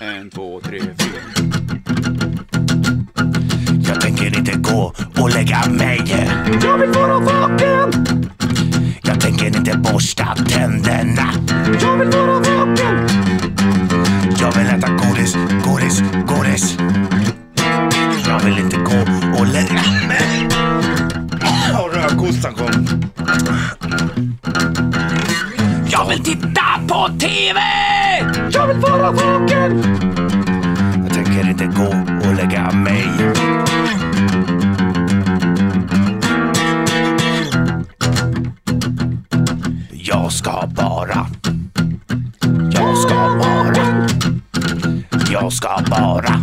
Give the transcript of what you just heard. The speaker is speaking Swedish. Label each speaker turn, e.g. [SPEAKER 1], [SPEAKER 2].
[SPEAKER 1] En, två, tre, fyra.
[SPEAKER 2] Jag tänker inte gå och lägga mig.
[SPEAKER 3] Jag vill vara vaken,
[SPEAKER 2] Jag tänker inte borsta tänderna.
[SPEAKER 3] jag vill vara vaken.
[SPEAKER 2] Jag vill äta godis, godis, godis. Jag vill inte gå och lägga mig. Och rödkostan kom. Jag vill titta på TV!
[SPEAKER 3] Jag vill vara vaken,
[SPEAKER 2] Jag tänker inte gå och lägga mig. Jag ska bara. Jag ska bara. Jag ska bara.